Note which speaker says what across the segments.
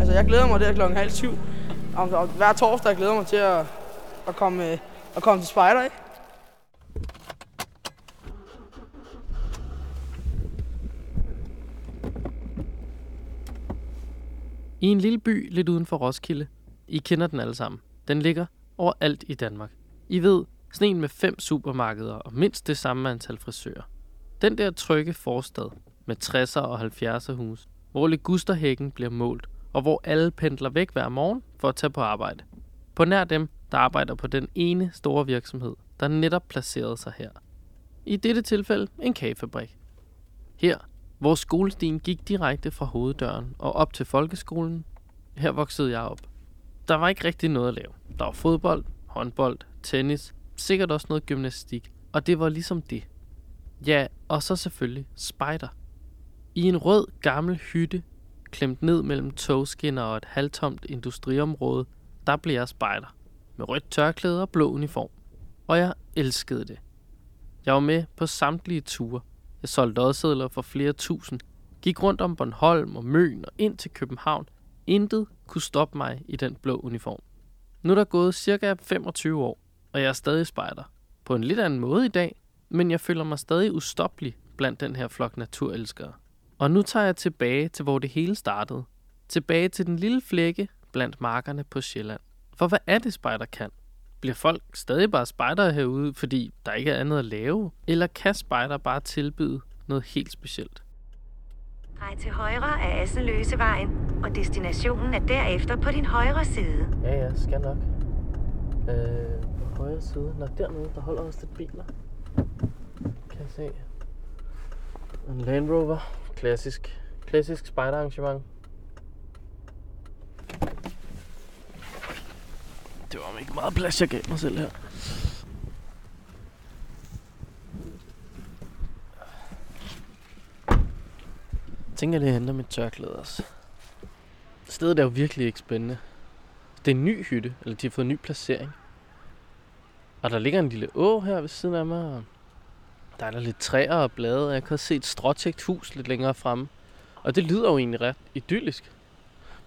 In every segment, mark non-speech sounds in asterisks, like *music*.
Speaker 1: Altså, der klokken halv syv. Om, om, hver torsdag glæder jeg mig til at, at, komme, øh, at komme til spejder, ikke?
Speaker 2: I en lille by lidt uden for Roskilde. I kender den alle sammen. Den ligger overalt i Danmark. I ved, sneen med fem supermarkeder og mindst det samme antal frisører. Den der trygge forstad med 60'er og 70'er hus, hvor ligusterhækken bliver målt, og hvor alle pendler væk hver morgen for at tage på arbejde. På nær dem, der arbejder på den ene store virksomhed, der netop placerede sig her. I dette tilfælde en kagefabrik. Her hvor skolestien gik direkte fra hoveddøren og op til folkeskolen. Her voksede jeg op. Der var ikke rigtig noget at lave. Der var fodbold, håndbold, tennis, sikkert også noget gymnastik, og det var ligesom det. Ja, og så selvfølgelig spejder. I en rød gammel hytte, klemt ned mellem togskinner og et halvtomt industriområde, der blev jeg spejder. Med rødt tørklæde og blå uniform. Og jeg elskede det. Jeg var med på samtlige ture, jeg solgte lodsedler for flere tusind, gik rundt om Bornholm og Møn og ind til København. Intet kunne stoppe mig i den blå uniform. Nu er der gået cirka 25 år, og jeg er stadig spejder. På en lidt anden måde i dag, men jeg føler mig stadig ustoppelig blandt den her flok naturelskere. Og nu tager jeg tilbage til, hvor det hele startede. Tilbage til den lille flække blandt markerne på Sjælland. For hvad er det, spejder kan? Bliver folk stadig bare spejdere herude, fordi der ikke er andet at lave? Eller kan spejder bare tilbyde noget helt specielt?
Speaker 3: Drej til højre af Asseløsevejen, og destinationen er derefter på din højre side.
Speaker 2: Ja, ja, skal nok. Øh, på højre side. Nå, dernede, der holder også lidt biler. Kan jeg se. En Land Rover. Klassisk. Klassisk spejderarrangement. Det var om ikke meget plads, jeg gav mig selv her. Jeg tænker, at jeg henter mit tørklæde også. Stedet er jo virkelig ikke spændende. Det er en ny hytte, eller de har fået en ny placering. Og der ligger en lille å her ved siden af mig. og Der er der lidt træer og blade, og jeg kan også se et stråtægt hus lidt længere fremme. Og det lyder jo egentlig ret idyllisk.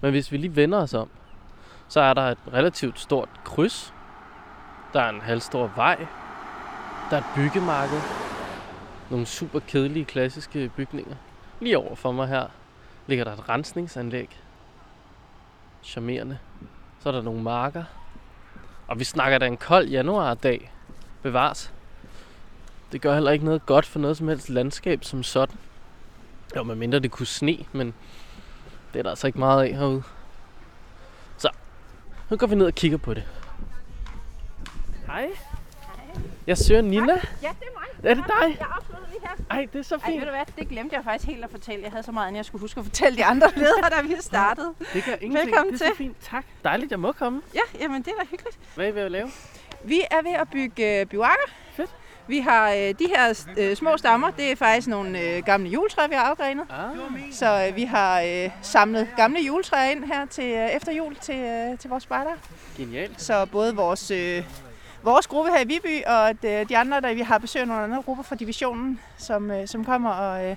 Speaker 2: Men hvis vi lige vender os om, så er der et relativt stort kryds. Der er en halvstor vej. Der er et byggemarked. Nogle super kedelige klassiske bygninger. Lige over for mig her ligger der et rensningsanlæg. Charmerende. Så er der nogle marker. Og vi snakker da en kold januardag. Bevares. Det gør heller ikke noget godt for noget som helst landskab som sådan. Jo, medmindre det kunne sne, men det er der altså ikke meget af herude. Nu går vi ned og kigger på det. Hej. Jeg søger Nina.
Speaker 4: Ja, det er mig.
Speaker 2: Er det dig?
Speaker 4: Jeg afslutter lige her.
Speaker 2: Ej, det er så
Speaker 4: Ej,
Speaker 2: fint.
Speaker 4: ved du hvad, det glemte jeg faktisk helt at fortælle. Jeg havde så meget, at jeg skulle huske at fortælle de andre ledere, da vi *laughs* startede.
Speaker 2: Det gør ingenting.
Speaker 4: Velkommen
Speaker 2: det er så
Speaker 4: til.
Speaker 2: fint. Tak. Dejligt, jeg må komme.
Speaker 4: Ja, jamen det er da hyggeligt.
Speaker 2: Hvad er I ved at lave?
Speaker 4: Vi er ved at bygge øh, bivakker.
Speaker 2: Fedt.
Speaker 4: Vi har øh, de her øh, små stammer, det er faktisk nogle øh, gamle juletræer, vi har afgrenet.
Speaker 2: Ah,
Speaker 4: Så øh, vi har øh, samlet gamle juletræer ind her til øh, efter jul til, øh, til vores spejdere.
Speaker 2: genialt.
Speaker 4: Så både vores, øh, vores gruppe her i Viby og at, øh, de andre, der vi har besøg af nogle andre grupper fra divisionen, som, øh, som kommer og, øh,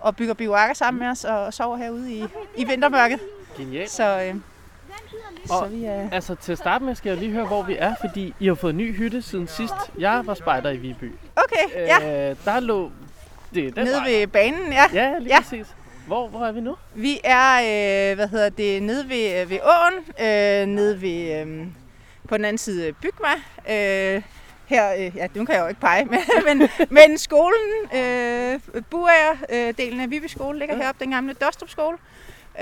Speaker 4: og bygger bivouakker sammen med os og, og sover herude i, i vintermørket.
Speaker 2: Genialt.
Speaker 4: Så, øh, så
Speaker 2: Og-
Speaker 4: vi er...
Speaker 2: Altså, til at starte med skal jeg lige høre, hvor vi er, fordi I har fået en ny hytte siden sidst. Jeg var spejder i Viby.
Speaker 4: Okay, ja.
Speaker 2: Øh, der lå det er den
Speaker 4: Nede
Speaker 2: vej.
Speaker 4: ved banen, ja.
Speaker 2: Ja, lige
Speaker 4: Ja.
Speaker 2: præcis. Hvor, hvor er vi nu?
Speaker 4: Vi er, øh, hvad hedder det, nede ved, øh, ved åen, øh, nede ved, øh, på den anden side af Bygma. Øh, her, øh, ja, nu kan jeg jo ikke pege, *laughs* men, men, men skolen, øh, Burager, øh, delen af Viby skole, ligger
Speaker 2: Ja.
Speaker 4: heroppe, den gamle Dostrup skole.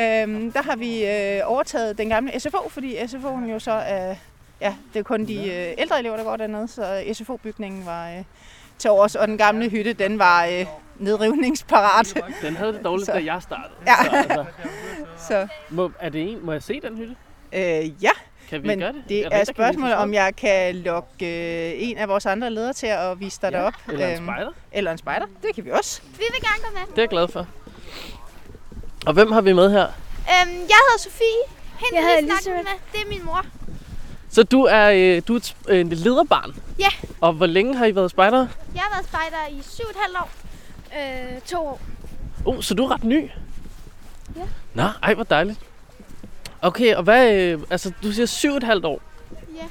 Speaker 4: Øhm, der har vi øh, overtaget den gamle SFO, fordi SFO'en jo så er, ja, det er kun de øh, ældre elever, der går dernede, så SFO-bygningen var øh, til års, og den gamle hytte, den var øh, nedrivningsparat.
Speaker 2: Den havde det dårligt,
Speaker 4: Så-
Speaker 2: da jeg startede.
Speaker 4: *laughs* Ja.
Speaker 2: Så, altså,
Speaker 4: så,
Speaker 2: må, er det en, må jeg se den hytte?
Speaker 4: øh, ja,
Speaker 2: Kan vi
Speaker 4: Men
Speaker 2: gøre det?
Speaker 4: det
Speaker 2: der
Speaker 4: er,
Speaker 2: en, der kan vise
Speaker 4: spørgsmålet,
Speaker 2: os
Speaker 4: om jeg kan lokke øh, en af vores andre ledere til at vise dig
Speaker 2: Ja,
Speaker 4: derop.
Speaker 2: Eller en
Speaker 4: Øhm,
Speaker 2: spejder?
Speaker 4: eller en spejder. Det kan vi også.
Speaker 5: Vi vil gerne gå med.
Speaker 2: Det er jeg glad for. Og hvem har vi med her?
Speaker 5: Øhm, jeg hedder Sofie. Hende
Speaker 6: Jeg
Speaker 5: jeg
Speaker 6: hedder
Speaker 5: vi snakkede
Speaker 6: Elisabeth.
Speaker 5: med. Det er min mor.
Speaker 2: Så du er, øh, du er et sp- øh, et lederbarn?
Speaker 5: Ja.
Speaker 2: Og hvor længe har I været spejder?
Speaker 5: Jeg har været spejder i 7,5 år.
Speaker 6: Øh, to år.
Speaker 2: Uh, Oh, så du er ret ny?
Speaker 5: Ja.
Speaker 2: Nå, ej, hvor dejligt. Okay, og hvad, øh, altså du siger syv og et halvt år.
Speaker 5: Ja.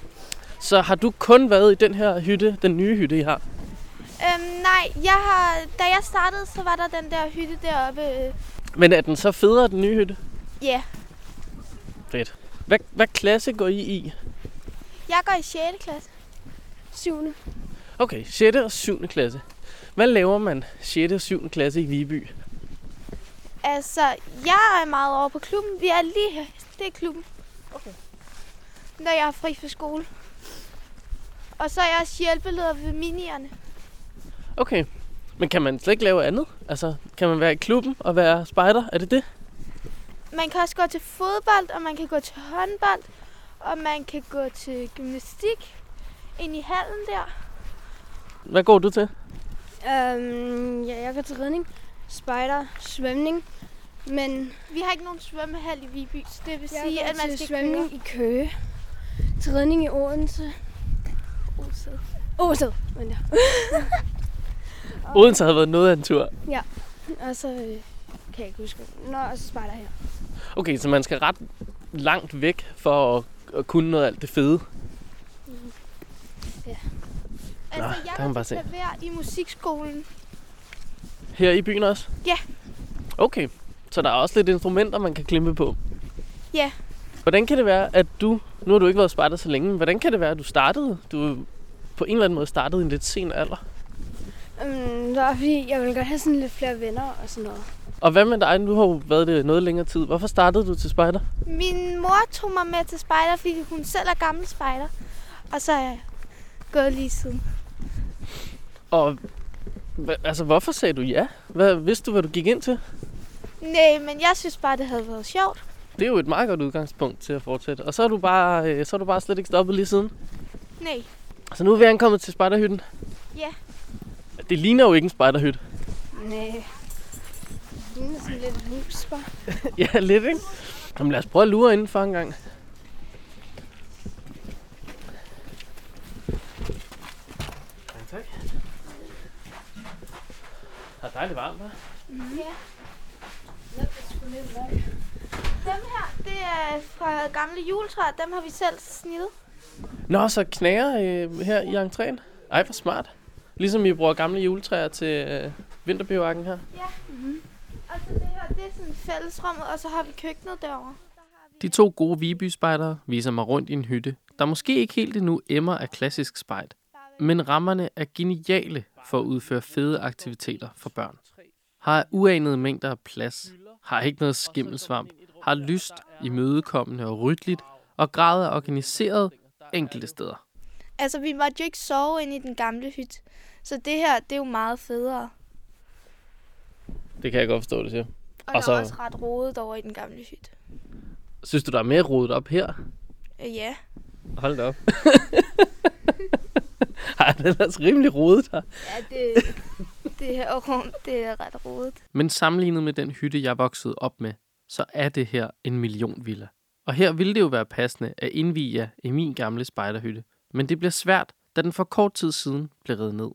Speaker 2: Så har du kun været i den her hytte, den nye hytte, I har?
Speaker 5: Øhm, nej, jeg har, da jeg startede, så var der den der hytte deroppe. øh,
Speaker 2: Men er den så federe, den nye hytte?
Speaker 5: Ja,
Speaker 2: Fedt. Hvad, hvad klasse går I i?
Speaker 5: jeg går i 6. klasse. 7.
Speaker 2: Okay, 6. og 7. klasse. Hvad laver man 6. og 7. klasse i Viby?
Speaker 5: Altså, jeg er meget over på klubben. Vi er lige her. Det er klubben. Okay. Når jeg er fri fra skole. Og så er jeg også hjælpeleder ved minierne.
Speaker 2: Okay, men kan man slet ikke lave andet? Altså, kan man være i klubben og være spejder? Er det det?
Speaker 5: Man kan også gå til fodbold, og man kan gå til håndbold, og man kan gå til gymnastik ind i hallen der.
Speaker 2: Hvad går du til?
Speaker 6: Øhm, ja, jeg går til redning, spejder, svømning, men
Speaker 5: Vi har ikke nogen svømmehal i Viby, så det vil
Speaker 6: jeg
Speaker 5: sige,
Speaker 6: går
Speaker 5: at man
Speaker 6: til
Speaker 5: skal
Speaker 6: svømning i Køge, til redning i Odense. Osed. Osed, men ja.
Speaker 2: Odense havde været noget af en tur.
Speaker 6: Og så øh, kan jeg ikke huske. Nå, altså, og så spejder her.
Speaker 2: Okay, så man skal ret langt væk for at, at kunne noget af alt det fede. Nå,
Speaker 5: Altså,
Speaker 2: der kan man
Speaker 5: jeg
Speaker 2: bare
Speaker 5: var
Speaker 2: se.
Speaker 5: til klaver i musikskolen.
Speaker 2: Her i byen også?
Speaker 5: Ja.
Speaker 2: Okay, så der er også lidt instrumenter, man kan klimpe på?
Speaker 5: Ja.
Speaker 2: Hvordan kan det være, at du... Nu har du ikke været spejder så længe, men hvordan kan det være, at du startede? Du på en eller anden måde startede i en lidt sen alder.
Speaker 6: Øhm, det var fordi, jeg ville godt have sådan lidt flere venner og sådan noget.
Speaker 2: Og hvad med dig? Du har jo været det noget længere tid. Hvorfor startede du til spejder?
Speaker 5: Min mor tog mig med til spejder, fordi hun selv er gammel spejder. Og så er jeg gået lige siden.
Speaker 2: Og hva- altså, hvorfor sagde du ja? Hvad, vidste du, hvad du gik ind til?
Speaker 5: Nej, men jeg synes bare, det havde været sjovt.
Speaker 2: Det er jo et meget godt udgangspunkt til at fortsætte. Og så er du bare, øh, så er du bare slet ikke stoppet lige siden.
Speaker 5: Nej.
Speaker 2: Så nu er vi ankommet til spejderhytten.
Speaker 5: Ja.
Speaker 2: Det ligner jo ikke en spejderhytte.
Speaker 6: Næh. Det ligner sådan lidt et hus, bare.
Speaker 2: ja, lidt, ikke? Jamen lad os prøve at lure indenfor en gang. Ja, tak. Der er dejligt varmt, hva'?
Speaker 5: Dem her, det er fra gamle juletræer. Dem har vi selv snittet.
Speaker 2: Nå, så knager øh, her i entréen? Ej, hvor smart. Ligesom I bruger gamle juletræer til øh, vinterbioarken her.
Speaker 5: Og så det her, det er sådan fællesrummet, og så har vi køkkenet derovre.
Speaker 2: De to gode Viby-spejdere viser mig rundt i en hytte, der måske ikke helt endnu emmer af klassisk spejt, men rammerne er geniale for at udføre fede aktiviteter for børn. Har uanede mængder af plads, har ikke noget skimmelsvamp, har lyst, imødekommende og ryddeligt, og grader er organiseret enkelte steder.
Speaker 5: Altså, vi måtte jo ikke sove inde i den gamle hytte. Så det her, det er jo meget federe.
Speaker 2: Det kan jeg godt forstå, det siger.
Speaker 5: Og,
Speaker 2: Og
Speaker 5: der
Speaker 2: så-
Speaker 5: er også ret rodet over i den gamle hytte.
Speaker 2: Synes du, der er mere rodet op her?
Speaker 5: Øh, ja.
Speaker 2: Hold da op. *laughs* Ej, det er ellers rimelig rodet her.
Speaker 5: Ja, det, det her rum, det er ret rodet.
Speaker 2: Men sammenlignet med den hytte, jeg voksede op med, så er det her en millionvilla. Og her ville det jo være passende at indvige jer i min gamle spejderhytte. Men det bliver svært, da den for kort tid siden blev revet ned.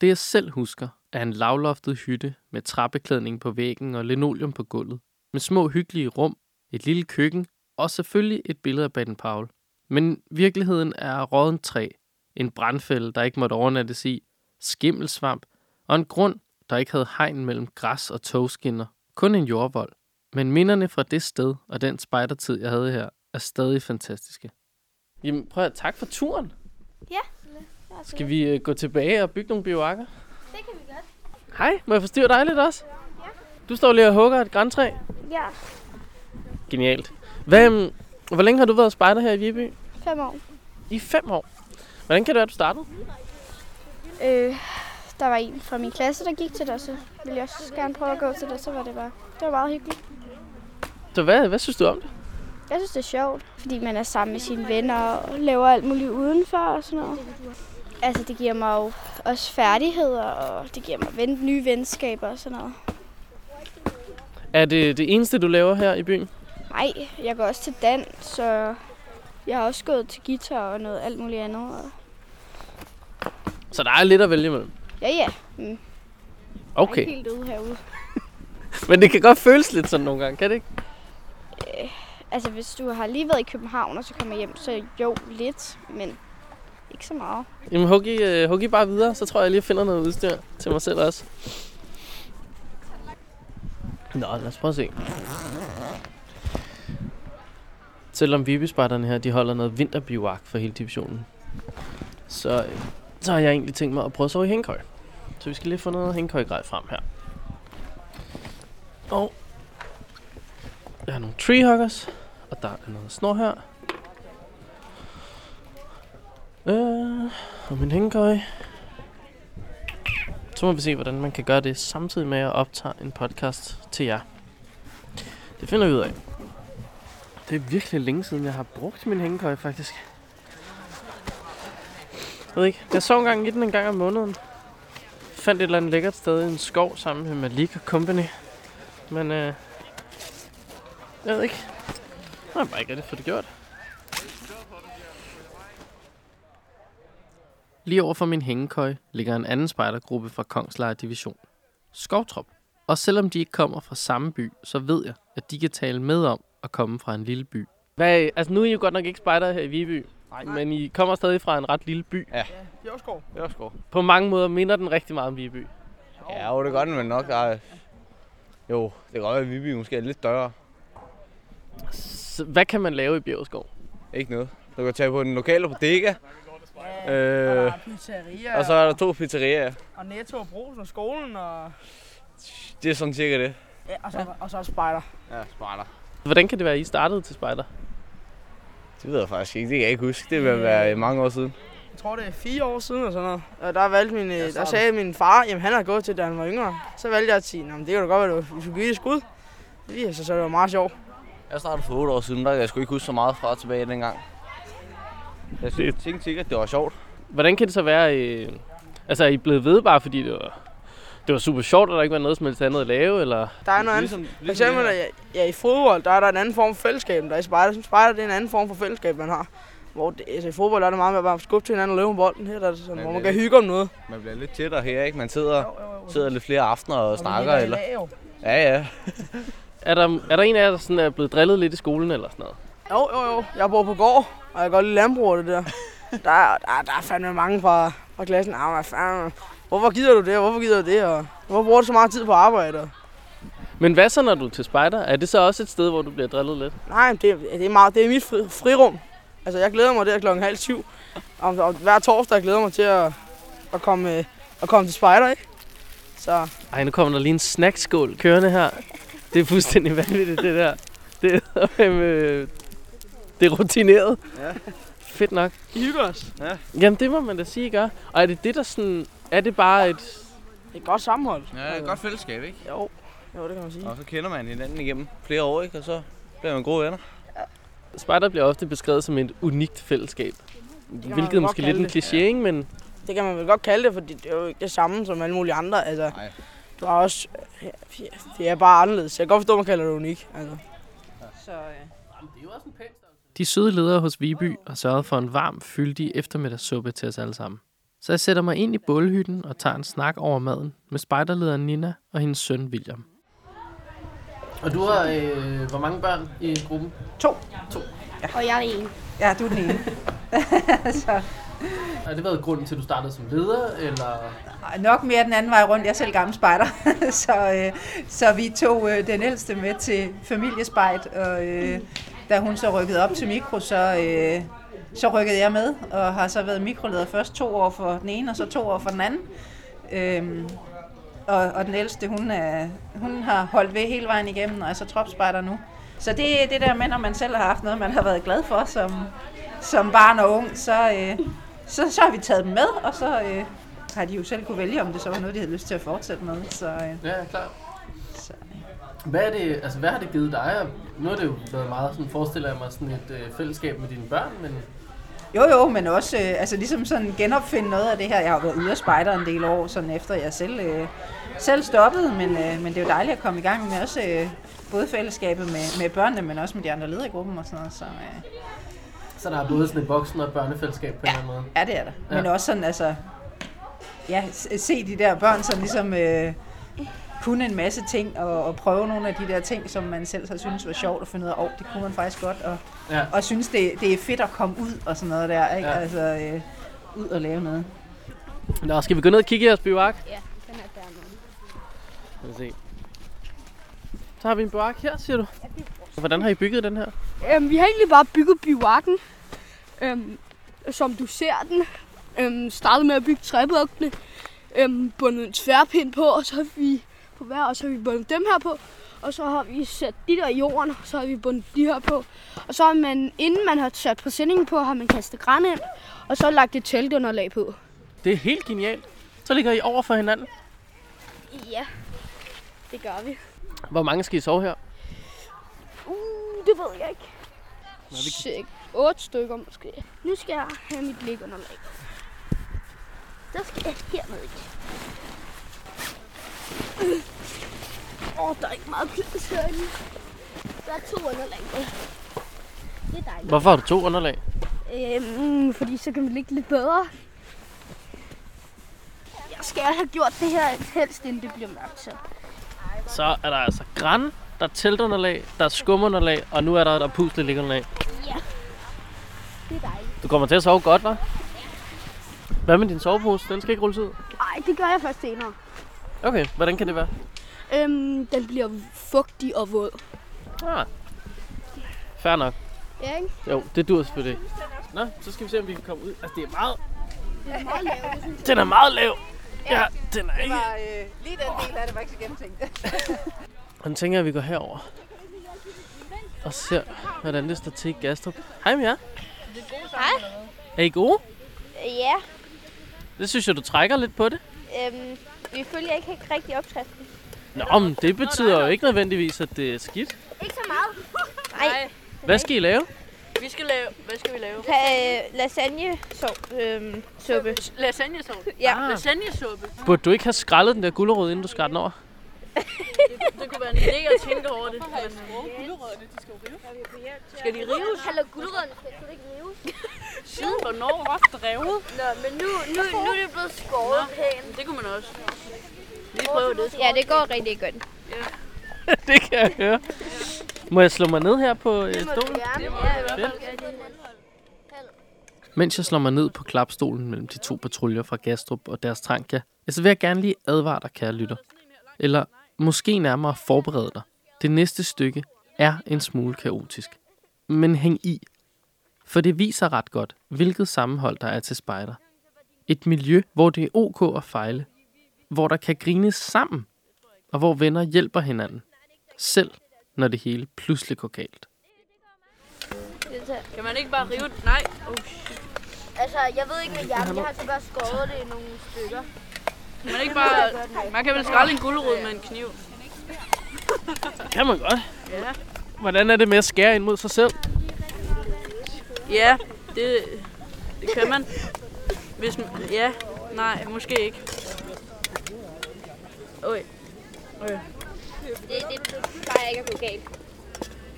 Speaker 2: Det jeg selv husker, er en lavloftet hytte med trappeklædning på væggen og linoleum på gulvet. Med små hyggelige rum, et lille køkken og selvfølgelig et billede af Baden Paul. Men virkeligheden er rådden træ, en brandfælde, der ikke måtte overnattes i, skimmelsvamp og en grund, der ikke havde hegn mellem græs og togskinner. Kun en jordvold. Men minderne fra det sted og den spejdertid, jeg havde her, er stadig fantastiske. Jamen prøv at tak for turen. Skal vi øh, gå tilbage og bygge nogle bioakker?
Speaker 5: Det kan vi godt.
Speaker 2: Hej, må jeg forstyrre dig lidt også? Du står lige og hugger et græntræ.
Speaker 5: Ja.
Speaker 2: Genialt. Hvad, øhm, hvor længe har du været spejder her i Viby?
Speaker 5: Fem år.
Speaker 2: I fem år. Hvordan kan det være, at du startede?
Speaker 7: Øh, der var en fra min klasse, der gik til det, og så ville jeg også gerne prøve at gå til det, så var det bare, det var meget hyggeligt.
Speaker 2: Så hvad, hvad synes du om det?
Speaker 7: Jeg synes, det er sjovt, fordi man er sammen med sine venner og laver alt muligt udenfor og sådan noget. Altså, det giver mig jo også færdigheder, og det giver mig ven- nye venskaber og sådan noget.
Speaker 2: Er det det eneste, du laver her i byen?
Speaker 7: Nej, jeg går også til dans, og jeg har også gået til guitar og noget alt muligt andet. Og...
Speaker 2: Så der er lidt at vælge imellem.
Speaker 7: Ja, ja. Jeg er
Speaker 2: Okay,
Speaker 7: ikke helt ude herude.
Speaker 2: men det kan godt føles lidt sådan nogle gange, kan det ikke?
Speaker 7: Altså, hvis du har lige været i København og så kommer hjem, så jo, lidt, men ikke så meget.
Speaker 2: Jamen, hug I, øh, hug I bare videre, så tror jeg, jeg lige finder noget udstyr til mig selv også. Nå, lad os prøve at se. Selvom vibesparterne her, de holder noget vinterbiwak for hele divisionen, så, øh, så har jeg egentlig tænkt mig at prøve at sove i hængkøj. Så vi skal lige få noget hængkøjgrej frem her. Og der er nogle treehuggers, og der er noget snor her. Øh, og min hængekøj. Så må vi se, hvordan man kan gøre det, samtidig med at optage en podcast til jer. Det finder vi ud af. Det er virkelig længe siden, jeg har brugt min hængekøj, faktisk. Jeg ved ikke, jeg sov engang i den en gang om måneden. Fandt et eller andet lækkert sted i en skov sammen med Malik og Company. Men øh, jeg ved ikke. Jeg har bare ikke rigtig fået det gjort. Lige over for min hængekøj ligger en anden spejdergruppe fra Kongslejr Division, Skovtrop. Og selvom de ikke kommer fra samme by, så ved jeg, at de kan tale med om at komme fra en lille by. Hvad, altså nu er I jo godt nok ikke spejder her i Viby, Nej. men I kommer stadig fra en ret lille by. Ja.
Speaker 1: Jørskov.
Speaker 8: Ørskov.
Speaker 2: På mange måder minder den rigtig meget om Viby.
Speaker 8: Ja, jo, det gør den vel nok. Ej. Jo, det kan godt være, at Viby måske er lidt større.
Speaker 2: Så hvad kan man lave i Bjergskov?
Speaker 8: Ikke noget. Du kan tage på den lokale bodega. Øh,
Speaker 1: Pizzeria
Speaker 8: og så er der to pizzerier.
Speaker 1: og Netto og Brosen og skolen og,
Speaker 8: Det er sådan cirka det.
Speaker 1: ja, og så, og så spejder.
Speaker 8: Ja, smarter.
Speaker 2: Hvordan kan det være, at I startede til spejder?
Speaker 8: Det ved jeg faktisk ikke. Det kan jeg ikke huske. Det vil være øh, mange år siden.
Speaker 1: Jeg tror, det er fire år siden eller sådan noget. Og der, valgte min, øh, der sagde min far, jamen han har gået til, da han var yngre. Så valgte jeg at sige, "Nå, men det kan da godt være, at du skulle give det et skud. Det viser sig, så det var meget sjovt.
Speaker 8: Jeg startede for 8 år siden, der jeg skulle ikke huske så meget fra tilbage dengang. Jeg synes, det... tænkte sikkert, det var sjovt.
Speaker 2: Hvordan kan det så være, øh, altså er I blevet ved bare fordi det var, det var super sjovt, og der ikke var noget som helst andet at lave, eller
Speaker 1: Der er noget andet. For eksempel, øh,
Speaker 8: det Ligesom- her.
Speaker 1: ja, ja, i fodbold, der er der en anden form for fællesskab, end der er i spejder. Som spejder, det er en anden form for fællesskab, man har. Hvor det, altså, i fodbold er det meget med at bare skubbe til hinanden og løbe med bolden. Her der er det sådan,
Speaker 8: Men
Speaker 1: hvor man
Speaker 8: det er
Speaker 1: kan hygge om noget.
Speaker 8: Man bliver lidt tættere her, ikke? Man sidder, sidder lidt flere aftener og snakker. Eller...
Speaker 1: Jo,
Speaker 8: Ja, ja.
Speaker 2: er der, er der en af jer, der sådan er blevet drillet lidt i skolen eller sådan noget?
Speaker 1: jo, jo. Jeg bor på gård, og jeg kan godt lide landbrug og det der. der, er- der, er- der er fandme mange fra, fra klassen. Ah, hvad fanden. Hvorfor gider du det, og hvorfor gider du det, og hvorfor bruger du så meget tid på arbejde? Og-
Speaker 2: Men hvad så, når du er til spejder? Er det så også et sted, hvor du bliver drillet lidt?
Speaker 1: Nej, det, er- det, er, meget, det er mit fri, frirum. Altså, jeg glæder mig der klokken halv syv. Om, om, hver torsdag glæder jeg mig til at, at, komme, øh, at komme til spejder, ikke? Så
Speaker 2: Ej, nu kommer der lige en snackskål kørende her. Det er fuldstændig vanvittigt, det der. Det er, *laughs* øh, det er rutineret. Ja. Fedt nok.
Speaker 1: I hygger os.
Speaker 2: Jamen, det må man da sige, I gør. Og er det det, der sådan... Er det bare et...
Speaker 1: Det er et godt sammenhold.
Speaker 8: Ja, det er et godt fællesskab, ikke?
Speaker 1: Jo, jo det kan man sige.
Speaker 8: Og så kender man hinanden igennem flere år, ikke? Og så bliver man gode venner.
Speaker 2: Spejder bliver ofte beskrevet som et unikt fællesskab.
Speaker 1: man
Speaker 2: Hvilket er
Speaker 1: godt
Speaker 2: måske
Speaker 1: kalde
Speaker 2: lidt en
Speaker 1: det.
Speaker 2: kliché, ikke? Men
Speaker 1: Det kan man vel godt kalde det, for det er jo ikke det samme som alle mulige andre. Altså,
Speaker 8: Nej.
Speaker 1: du har også... øh, ja, Det er bare anderledes. Jeg kan godt forstå, at man kalder det unik. Altså.
Speaker 4: øh.
Speaker 2: De søde ledere hos Viby har sørget for en varm, fyldig eftermiddagssuppe til os alle sammen. Så jeg sætter mig ind i bålhytten og tager en snak over maden med spejderlederen Nina og hendes søn William. Og du har øh, hvor mange børn i gruppen?
Speaker 6: Og jeg er en.
Speaker 4: Ja, du er den ene.
Speaker 2: Har det været grunden til, at du startede som leder? Eller?
Speaker 4: Ej, Nok mere den anden vej rundt. Jeg er selv gammel spejder. *laughs* så, øh, så vi tog øh, den ældste med til familiespejt, og øh, da hun så rykkede op til mikro, så, øh, så rykkede jeg med, og har så været mikroleder først to år for den ene, og så to år for den anden. Øhm, og, og den ældste, hun, er, hun har holdt ved hele vejen igennem, og er så tropspejder nu. Så det er det der med, når man selv har haft noget, man har været glad for som, som barn og ung, så, øh, så, så har vi taget dem med, og så øh, har de jo selv kunne vælge, om det så var noget, de havde lyst til at fortsætte med. Så, øh,
Speaker 2: Ja, klart. Hvad, er det, altså, hvad har det givet dig? Nu har det jo været meget, sådan, forestiller jeg mig, sådan et øh, fællesskab med dine børn, men
Speaker 4: jo jo, men også øh, altså ligesom sådan genopfinde noget af det her. Jeg har jo været ude af spejder en del år, sådan efter jeg selv, øh, selv stoppede, men, øh, men det er jo dejligt at komme i gang med også øh, både fællesskabet med, med børnene, men også med de andre ledere i gruppen og sådan noget. Så, øh,
Speaker 2: så der er både sådan et voksen- og børnefællesskab på en eller anden måde.
Speaker 4: Ja, det er der.
Speaker 2: Ja.
Speaker 4: Ja. Men også sådan, altså... Ja, s- se de der børn, som ligesom... Øh, kunne en masse ting og, og prøve nogle af de der ting, som man selv har syntes var sjovt at finde ud af, oh, det kunne man faktisk godt, og,
Speaker 2: Ja.
Speaker 4: ja. og synes det, det er fedt at komme ud og sådan noget der, ikke?
Speaker 2: Ja.
Speaker 4: Ja. altså øh, ud og lave noget.
Speaker 2: Nå, skal vi gå ned og kigge i jeres bivark?
Speaker 6: Ja, den er dernede.
Speaker 2: Lad os se. Så har vi en bivark her, siger du? Hvordan har I bygget den her?
Speaker 6: Øhm, vi har egentlig bare bygget bivakken, øhm, som du ser den. Øhm, startede med at bygge træblokkene, øhm, bundet en tværpind på, og så har vi på hver, og så har vi bundet dem her på. Og så har vi sat de der i jorden, og så har vi bundet de her på. Og så har man, inden man har sat præsendingen på, har man kastet græn ind, og så lagt et teltunderlag på.
Speaker 2: Det er helt genialt. Så ligger I over for hinanden.
Speaker 6: Ja, det gør vi.
Speaker 2: Hvor mange skal I sove her?
Speaker 6: Uh, det ved jeg ikke. Sikke. Otte stykker måske. Nu skal jeg have mit liggeunderlag. Der skal jeg herned igen. Øh. Åh, oh, der er ikke meget plads herinde. Der er to underlag på. Det er dejligt.
Speaker 2: Hvorfor har du to underlag?
Speaker 6: Øhm, fordi så kan vi ligge lidt bedre. Jeg skal have gjort det her helst, inden det bliver mørkt. Så.
Speaker 2: Så er der altså græn, der er teltunderlag, der er skumunderlag, og nu er der der pusle liggeunderlag.
Speaker 6: Det er dejligt.
Speaker 2: Du kommer til at sove godt, hva'? Hvad med din sovepose? Den skal ikke rulles ud.
Speaker 6: Ej, det gør jeg først senere.
Speaker 2: Okay, hvordan kan det være?
Speaker 6: Øhm, den bliver fugtig og våd.
Speaker 2: Ah. Fair nok.
Speaker 6: Ja, ikke?
Speaker 2: Jo, det dur selvfølgelig. Nå, så skal vi se, om vi kan komme ud. Altså, det er meget... Den er meget lav. Ja, den er ikke...
Speaker 4: øh, lige den del af det var ikke så gennemtænkt.
Speaker 2: Og nu tænker jeg, at vi går herover og ser, hvordan det står til i Gastrup. Hej med jer. Hej. Er I gode?
Speaker 5: Ja,
Speaker 2: Det synes jeg, du trækker lidt på det.
Speaker 5: øhm, vi følger ikke helt rigtig opskriften.
Speaker 2: Nå, men det betyder jo ikke nødvendigvis, at det er skidt.
Speaker 5: Ikke så meget.
Speaker 2: Hvad skal I lave?
Speaker 9: Vi skal lave... Hvad skal vi lave?
Speaker 5: Pa, øh, lasagne så, øhm, suppe.
Speaker 9: Lasagnesuppe.
Speaker 5: Ja.
Speaker 2: Ah.
Speaker 9: Lasagnesuppe.
Speaker 2: Burde du ikke have skrællet den der gulerod, inden du skar den over?
Speaker 9: Det kunne være en idé at tænke over det. Skal de rives?
Speaker 5: Hallo, gulerødderne skal ikke rives.
Speaker 9: Siden hvornår var drevet?
Speaker 5: Nå, men nu, nu, nu er det blevet skåret pænt.
Speaker 9: Det kunne man også. Lige prøve det.
Speaker 5: Ja, det går rigtig godt.
Speaker 2: *laughs* det kan jeg høre. Må jeg slå mig ned her på øh, stolen? Mens jeg slår mig ned på klapstolen mellem de to patruljer fra Gastrup og deres Tranka, ja, så vil jeg gerne lige advare dig, kære lytter. Eller måske nærmere forberede dig. Det næste stykke er en smule kaotisk. Men hæng i. For det viser ret godt, hvilket sammenhold der er til spejder. Et miljø, hvor det er ok at fejle. Hvor der kan grines sammen. Og hvor venner hjælper hinanden. Selv når det hele pludselig går galt.
Speaker 9: Kan man ikke bare rive det? Nej. Oh, shit.
Speaker 5: Altså, jeg ved ikke med jer, men jeg har så bare skåret det i nogle stykker.
Speaker 9: Kan man ikke bare... Man kan vel skrælle en gulerod med en kniv.
Speaker 2: Kan man godt. Hvordan er det med at skære ind mod sig selv?
Speaker 9: Ja, det, det kan man. Hvis man, ja, nej, måske ikke. Øj,
Speaker 5: Det, det, det plejer ikke at gå galt.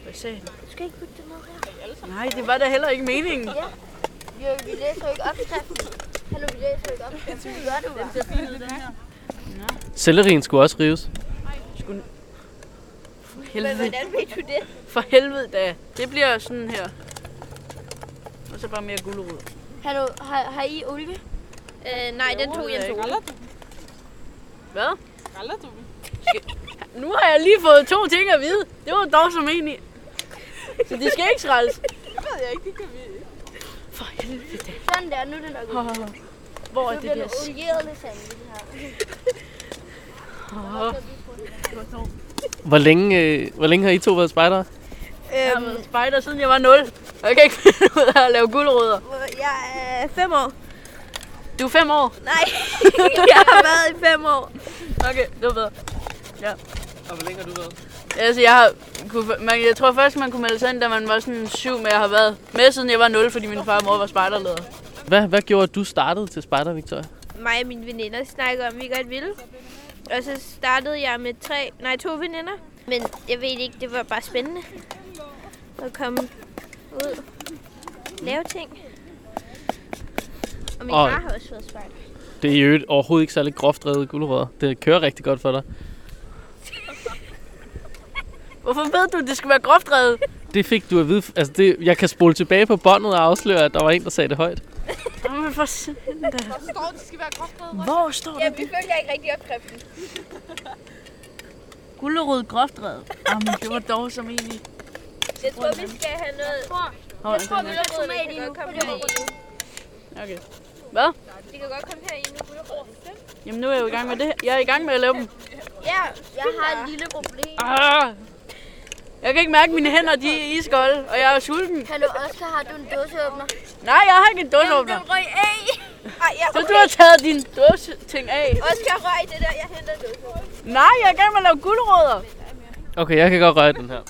Speaker 9: hvad sagde han?
Speaker 5: Du skal ikke putte det ned her.
Speaker 9: Nej, det var da heller ikke meningen.
Speaker 5: Jo, vi læser jo ikke opskriften. Hallo, vi læser jo ikke opskriften. Det gør du bare.
Speaker 2: Sellerien skulle også rives.
Speaker 9: Helvede,
Speaker 5: Hvordan ved du det?
Speaker 9: for helvede da. Det bliver sådan her. Og så bare mere gulerod.
Speaker 5: Hallo, har, har I olie? Øh, nej, den tog Jens Ole.
Speaker 9: Hvad? Skal- Nu har jeg lige fået to ting at vide. Det var dog som egentlig. Så de skal ikke skraldes. Det ved jeg ikke, det kan vi For helvede da.
Speaker 5: Sådan der, nu er det nok olie.
Speaker 9: Hvor
Speaker 5: Nu
Speaker 9: er det
Speaker 5: bliver det
Speaker 9: der
Speaker 5: olieret lasagne, det her.
Speaker 2: Hvor længe, øh, hvor længe har I to været spejdere?
Speaker 9: Jeg har været spejder siden jeg var 0. Og jeg kan ikke *laughs* finde ud af at lave guldrødder.
Speaker 5: Jeg er fem år.
Speaker 9: Du er 5 år.
Speaker 5: Nej, *laughs* jeg har været i fem år.
Speaker 9: Okay, det var bedre.
Speaker 2: Og hvor længe har du været?
Speaker 9: Altså, jeg, har, kunne, man, jeg tror først, man kunne melde sig ind, da man var sådan syv, men jeg har været med, siden jeg var 0, fordi min far og mor var spejderleder.
Speaker 2: Hvad, hvad gjorde, at du startede til spejder, Victoria?
Speaker 5: mig og mine veninder snakkede om, at vi godt ville. Og så startede jeg med tre, nej, to veninder. Men jeg ved ikke, det var bare spændende at komme ud lave ting. Og min
Speaker 2: Og-
Speaker 5: far har også været spejder.
Speaker 2: Det er jo overhovedet ikke særlig groft drevet gulerødder. Det kører rigtig godt for dig.
Speaker 9: Hvorfor ved du, at det skal være groft reddet?
Speaker 2: Det fik du at vide. Altså, det, jeg kan spole tilbage på båndet og afsløre, at der var en, der sagde det højt.
Speaker 9: Jamen, for satan da.
Speaker 10: står, det skal være groft reddet.
Speaker 9: Hvor står det?
Speaker 10: vi følger ikke rigtig op, Preben.
Speaker 9: Gullerød groft reddet. Jamen, det var dog som egentlig.
Speaker 10: Jeg tror, vi skal have noget.
Speaker 9: Hold da.
Speaker 10: vi har tomat i nu.
Speaker 9: Okay. Hvad?
Speaker 10: Det kan godt komme her i nu.
Speaker 9: Jamen, nu er jeg jo i gang med det her. Jeg er i gang med at lave dem.
Speaker 6: Ja, jeg har et lille problem.
Speaker 9: Arh! Jeg kan ikke mærke, at mine hænder de er iskolde, og jeg er sulten.
Speaker 6: Hallo, Oscar, har du en dåseåbner?
Speaker 9: Nej, jeg har ikke en dåseåbner.
Speaker 6: røg af! Ej, jeg
Speaker 9: Så du har taget din dåseting af.
Speaker 6: Oscar røg det der, jeg henter dåseåbner.
Speaker 9: Nej, jeg er i gang med at lave guldrødder.
Speaker 2: Okay, jeg kan godt røre den her.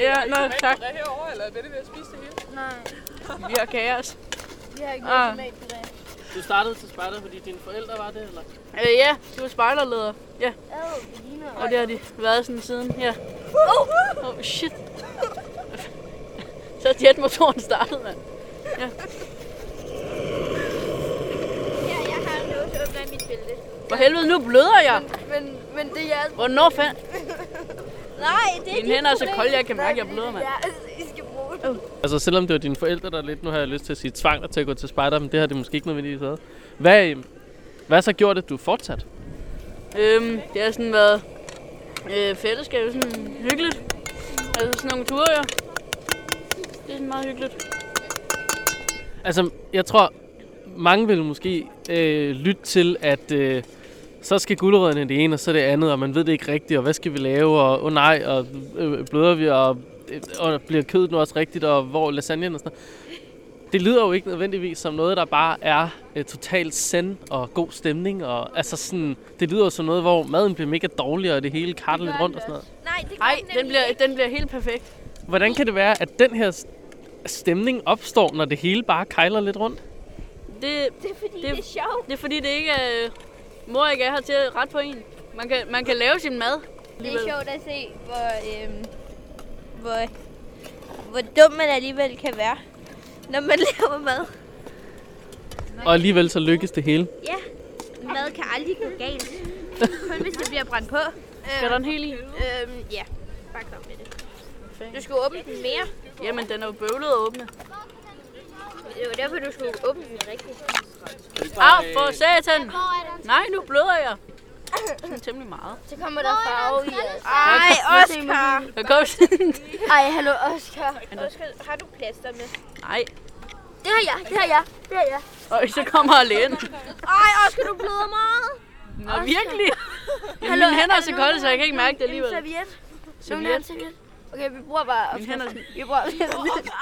Speaker 9: Ja, nå, tak. Er det herovre, eller er det ved at spise det hele? Nej. Vi har kaos.
Speaker 6: Vi har ikke
Speaker 9: Ah.
Speaker 6: tomatpuré.
Speaker 2: Du startede til spejder, fordi dine forældre var det, eller?
Speaker 9: Øh, ja, du er spejderleder,
Speaker 6: Ad, vi ligner.
Speaker 9: og det har de været sådan siden. Ja. Oh, oh shit. Så er jetmotoren startet, mand.
Speaker 6: Her, jeg har en dåseåbner i mit bælte.
Speaker 9: For helvede, nu bløder jeg.
Speaker 6: Men, men det er jeres...
Speaker 9: Hvornår fandt?
Speaker 6: Nej, det er
Speaker 9: Mine
Speaker 6: dit
Speaker 9: hænder er så
Speaker 6: problem.
Speaker 9: kolde, jeg kan mærke,
Speaker 6: Nej,
Speaker 9: jeg bløder,
Speaker 6: det er jeres. I skal bruge det.
Speaker 2: Altså, selvom det var dine forældre, der lidt, nu har jeg lyst til at sige, tvang dig til at gå til spejder, men det har det måske ikke nødvendigvis været. Hvad, øhm, hvad så gjort, at du er fortsat?
Speaker 9: Øhm, det har sådan været øh, fællesskab, sådan hyggeligt. Altså sådan nogle ture, jo. Det er sådan meget hyggeligt.
Speaker 2: Altså, jeg tror, mange vil måske øh, lytte til, at øh, så skal guldrødderne det ene, og så det andet, og man ved det ikke rigtigt, og hvad skal vi lave, og oh nej, og øh, bløder vi, og, øh, og bliver kødet nu også rigtigt, og hvor er lasagnen og sådan noget. Det lyder jo ikke nødvendigvis som noget, der bare er øh, totalt send og god stemning. Og, altså sådan, det lyder jo som noget, hvor maden bliver mega dårlig, og det hele karter lidt rundt og sådan noget.
Speaker 6: Nej, det
Speaker 9: Nej, den bliver, den bliver helt perfekt.
Speaker 2: Hvordan kan det være, at den her s- stemning opstår, når det hele bare kejler lidt rundt?
Speaker 9: Det,
Speaker 6: Det er
Speaker 9: Det-
Speaker 6: fordi, det, det er sjovt.
Speaker 9: det er fordi, det ikke er, mor ikke er her til at rette på en. Man kan, man kan lave sin mad.
Speaker 5: Det er sjovt at se, hvor, øhm, hvor, hvor dum man alligevel kan være, når man *laughs* laver mad.
Speaker 2: Og alligevel så lykkes det hele.
Speaker 5: Mad kan aldrig gå *laughs* galt. Kun hvis det bliver brændt på.
Speaker 9: Skal der en hel i?
Speaker 5: Øhm, ja, bare kom med det. Du skulle åbne den mere.
Speaker 9: Jamen, den er jo bøvlet at åbne.
Speaker 5: Det var derfor, du skulle åbne den rigtigt.
Speaker 9: Af for satan! Nej, nu bløder jeg. Sådan temmelig meget.
Speaker 6: Så kommer der farve i os.
Speaker 5: Ej, Oscar!
Speaker 9: Der kom sådan...
Speaker 6: *laughs* Ej, hallo, Oscar.
Speaker 5: Oscar, har du plaster med?
Speaker 9: Nej.
Speaker 6: Det har jeg, det har jeg, det har jeg.
Speaker 9: Og så kommer lægen.
Speaker 5: Ej, Oscar, du bløder meget!
Speaker 9: Nå,
Speaker 6: *laughs*
Speaker 9: virkelig? Jamen, mine hænder er så kolde, så jeg kan ikke mærke det
Speaker 6: En
Speaker 9: alligevel.
Speaker 6: serviet. Nogen har en
Speaker 9: Serviet.
Speaker 6: serviet. Okay, vi bruger bare
Speaker 9: Mine hænder er
Speaker 6: opskriften.
Speaker 9: sådan-
Speaker 6: Vi bruger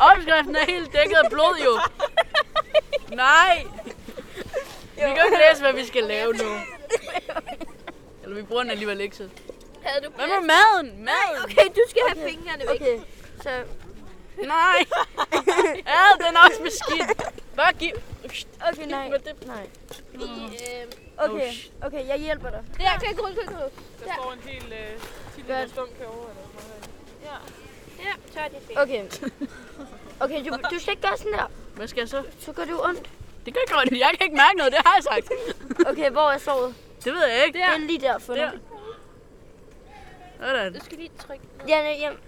Speaker 9: Opskriften er helt dækket af blod, jo. Nej. Vi kan jo ikke læse, hvad vi skal lave nu. Eller vi bruger den alligevel ikke så.
Speaker 5: Havde du
Speaker 9: Hvad med maden? Maden?
Speaker 5: Okay, du skal have fingrene væk.
Speaker 6: Okay, så
Speaker 5: *laughs*
Speaker 9: Nej. Ja, den er også beskidt. Bare giv...
Speaker 6: okay, nej. Nej.
Speaker 5: Øhm,
Speaker 6: Okay, okay, jeg hjælper dig.
Speaker 5: der, kan gå, kan gå.
Speaker 9: øh,
Speaker 6: Godt.
Speaker 5: Ja, så er det fint.
Speaker 6: Okay. Okay, du, du skal ikke gøre sådan der.
Speaker 9: Hvad skal jeg så?
Speaker 6: Så gør det ondt.
Speaker 9: Det gør ikke ondt. Jeg kan ikke mærke noget, det har jeg sagt.
Speaker 6: Okay, hvor er såret?
Speaker 9: Det ved jeg ikke.
Speaker 6: Det er lige der, fundet.
Speaker 9: Der. Sådan.
Speaker 5: Du skal lige trykke ned.
Speaker 6: Ja, nej, jamen,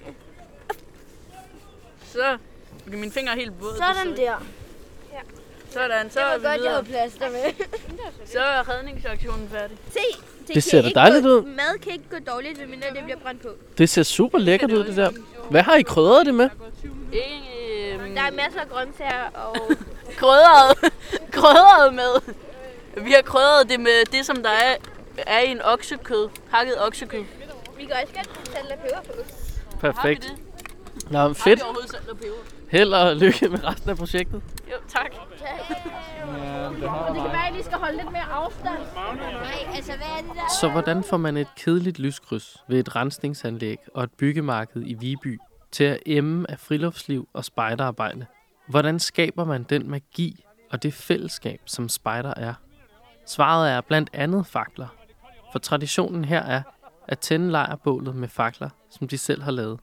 Speaker 9: Så. Okay, mine fingre er helt våde.
Speaker 6: sådan der.
Speaker 9: Sådan, så
Speaker 6: Det
Speaker 9: er
Speaker 6: var
Speaker 9: vi
Speaker 6: godt, jeg
Speaker 9: videre.
Speaker 6: havde plaster med.
Speaker 9: Så er redningsaktionen færdig.
Speaker 5: Se,
Speaker 2: Det
Speaker 5: kan
Speaker 2: ser da
Speaker 5: ikke
Speaker 2: dejligt
Speaker 5: gå,
Speaker 2: ud.
Speaker 5: Mad kan ikke gå dårligt, medmindre det bliver brændt på.
Speaker 9: Mm.
Speaker 2: Det ser super lækkert ud, det der. Hvad har I krydret det med?
Speaker 9: Ikke, øhm,
Speaker 5: Der er masser af grøntsager, og
Speaker 9: *laughs* krødret, krødret med. Vi har krødret det med det, som der er, er i en oksekød. Hakket oksekød.
Speaker 5: vi kan også godt putte salt og peber på.
Speaker 2: Perfekt.
Speaker 9: Har vi det?
Speaker 2: Nå, men
Speaker 9: Har
Speaker 2: fedt.
Speaker 9: vi overhovedet salt og peber?
Speaker 2: Held og lykke med resten af projektet.
Speaker 9: Jo, tak.
Speaker 5: Nej, altså hvad er det der?
Speaker 2: Så hvordan får man et kedeligt lyskryds ved et rensningsanlæg og et byggemarked i Viby til at emme af friluftsliv og spejderarbejde? Hvordan skaber man den magi og det fællesskab, som spejder er? Svaret er blandt andet fakler. For traditionen her er at tænde lejrbålet med fakler, som de selv har lavet.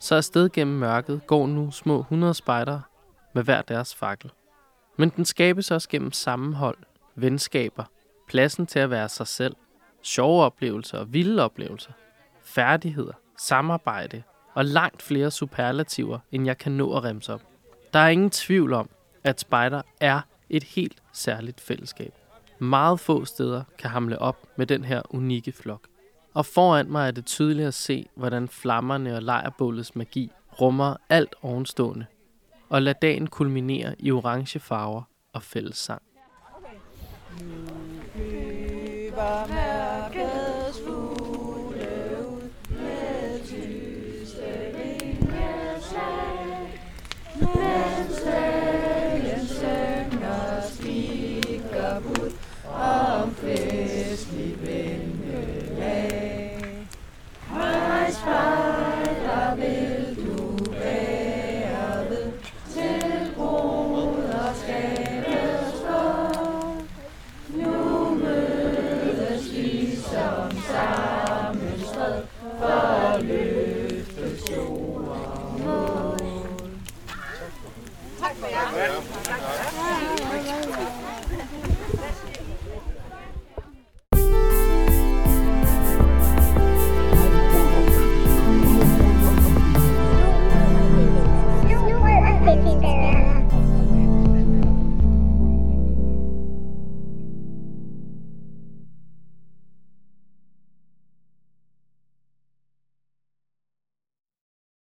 Speaker 2: Så afsted gennem mørket går nu små 100 spejdere med hver deres fakkel. Men den skabes også gennem sammenhold, venskaber, pladsen til at være sig selv, sjove oplevelser og vilde oplevelser. færdigheder, samarbejde og langt flere superlativer, end jeg kan nå at remse op. Der er ingen tvivl om, at spejder er et helt særligt fællesskab. Meget få steder kan hamle op med den her unikke flok. Og foran mig er det tydeligt at se, hvordan flammerne og lejrbålets magi rummer alt ovenstående, og lader dagen kulminere i orange farver og fælles sang.
Speaker 11: Über Merkel.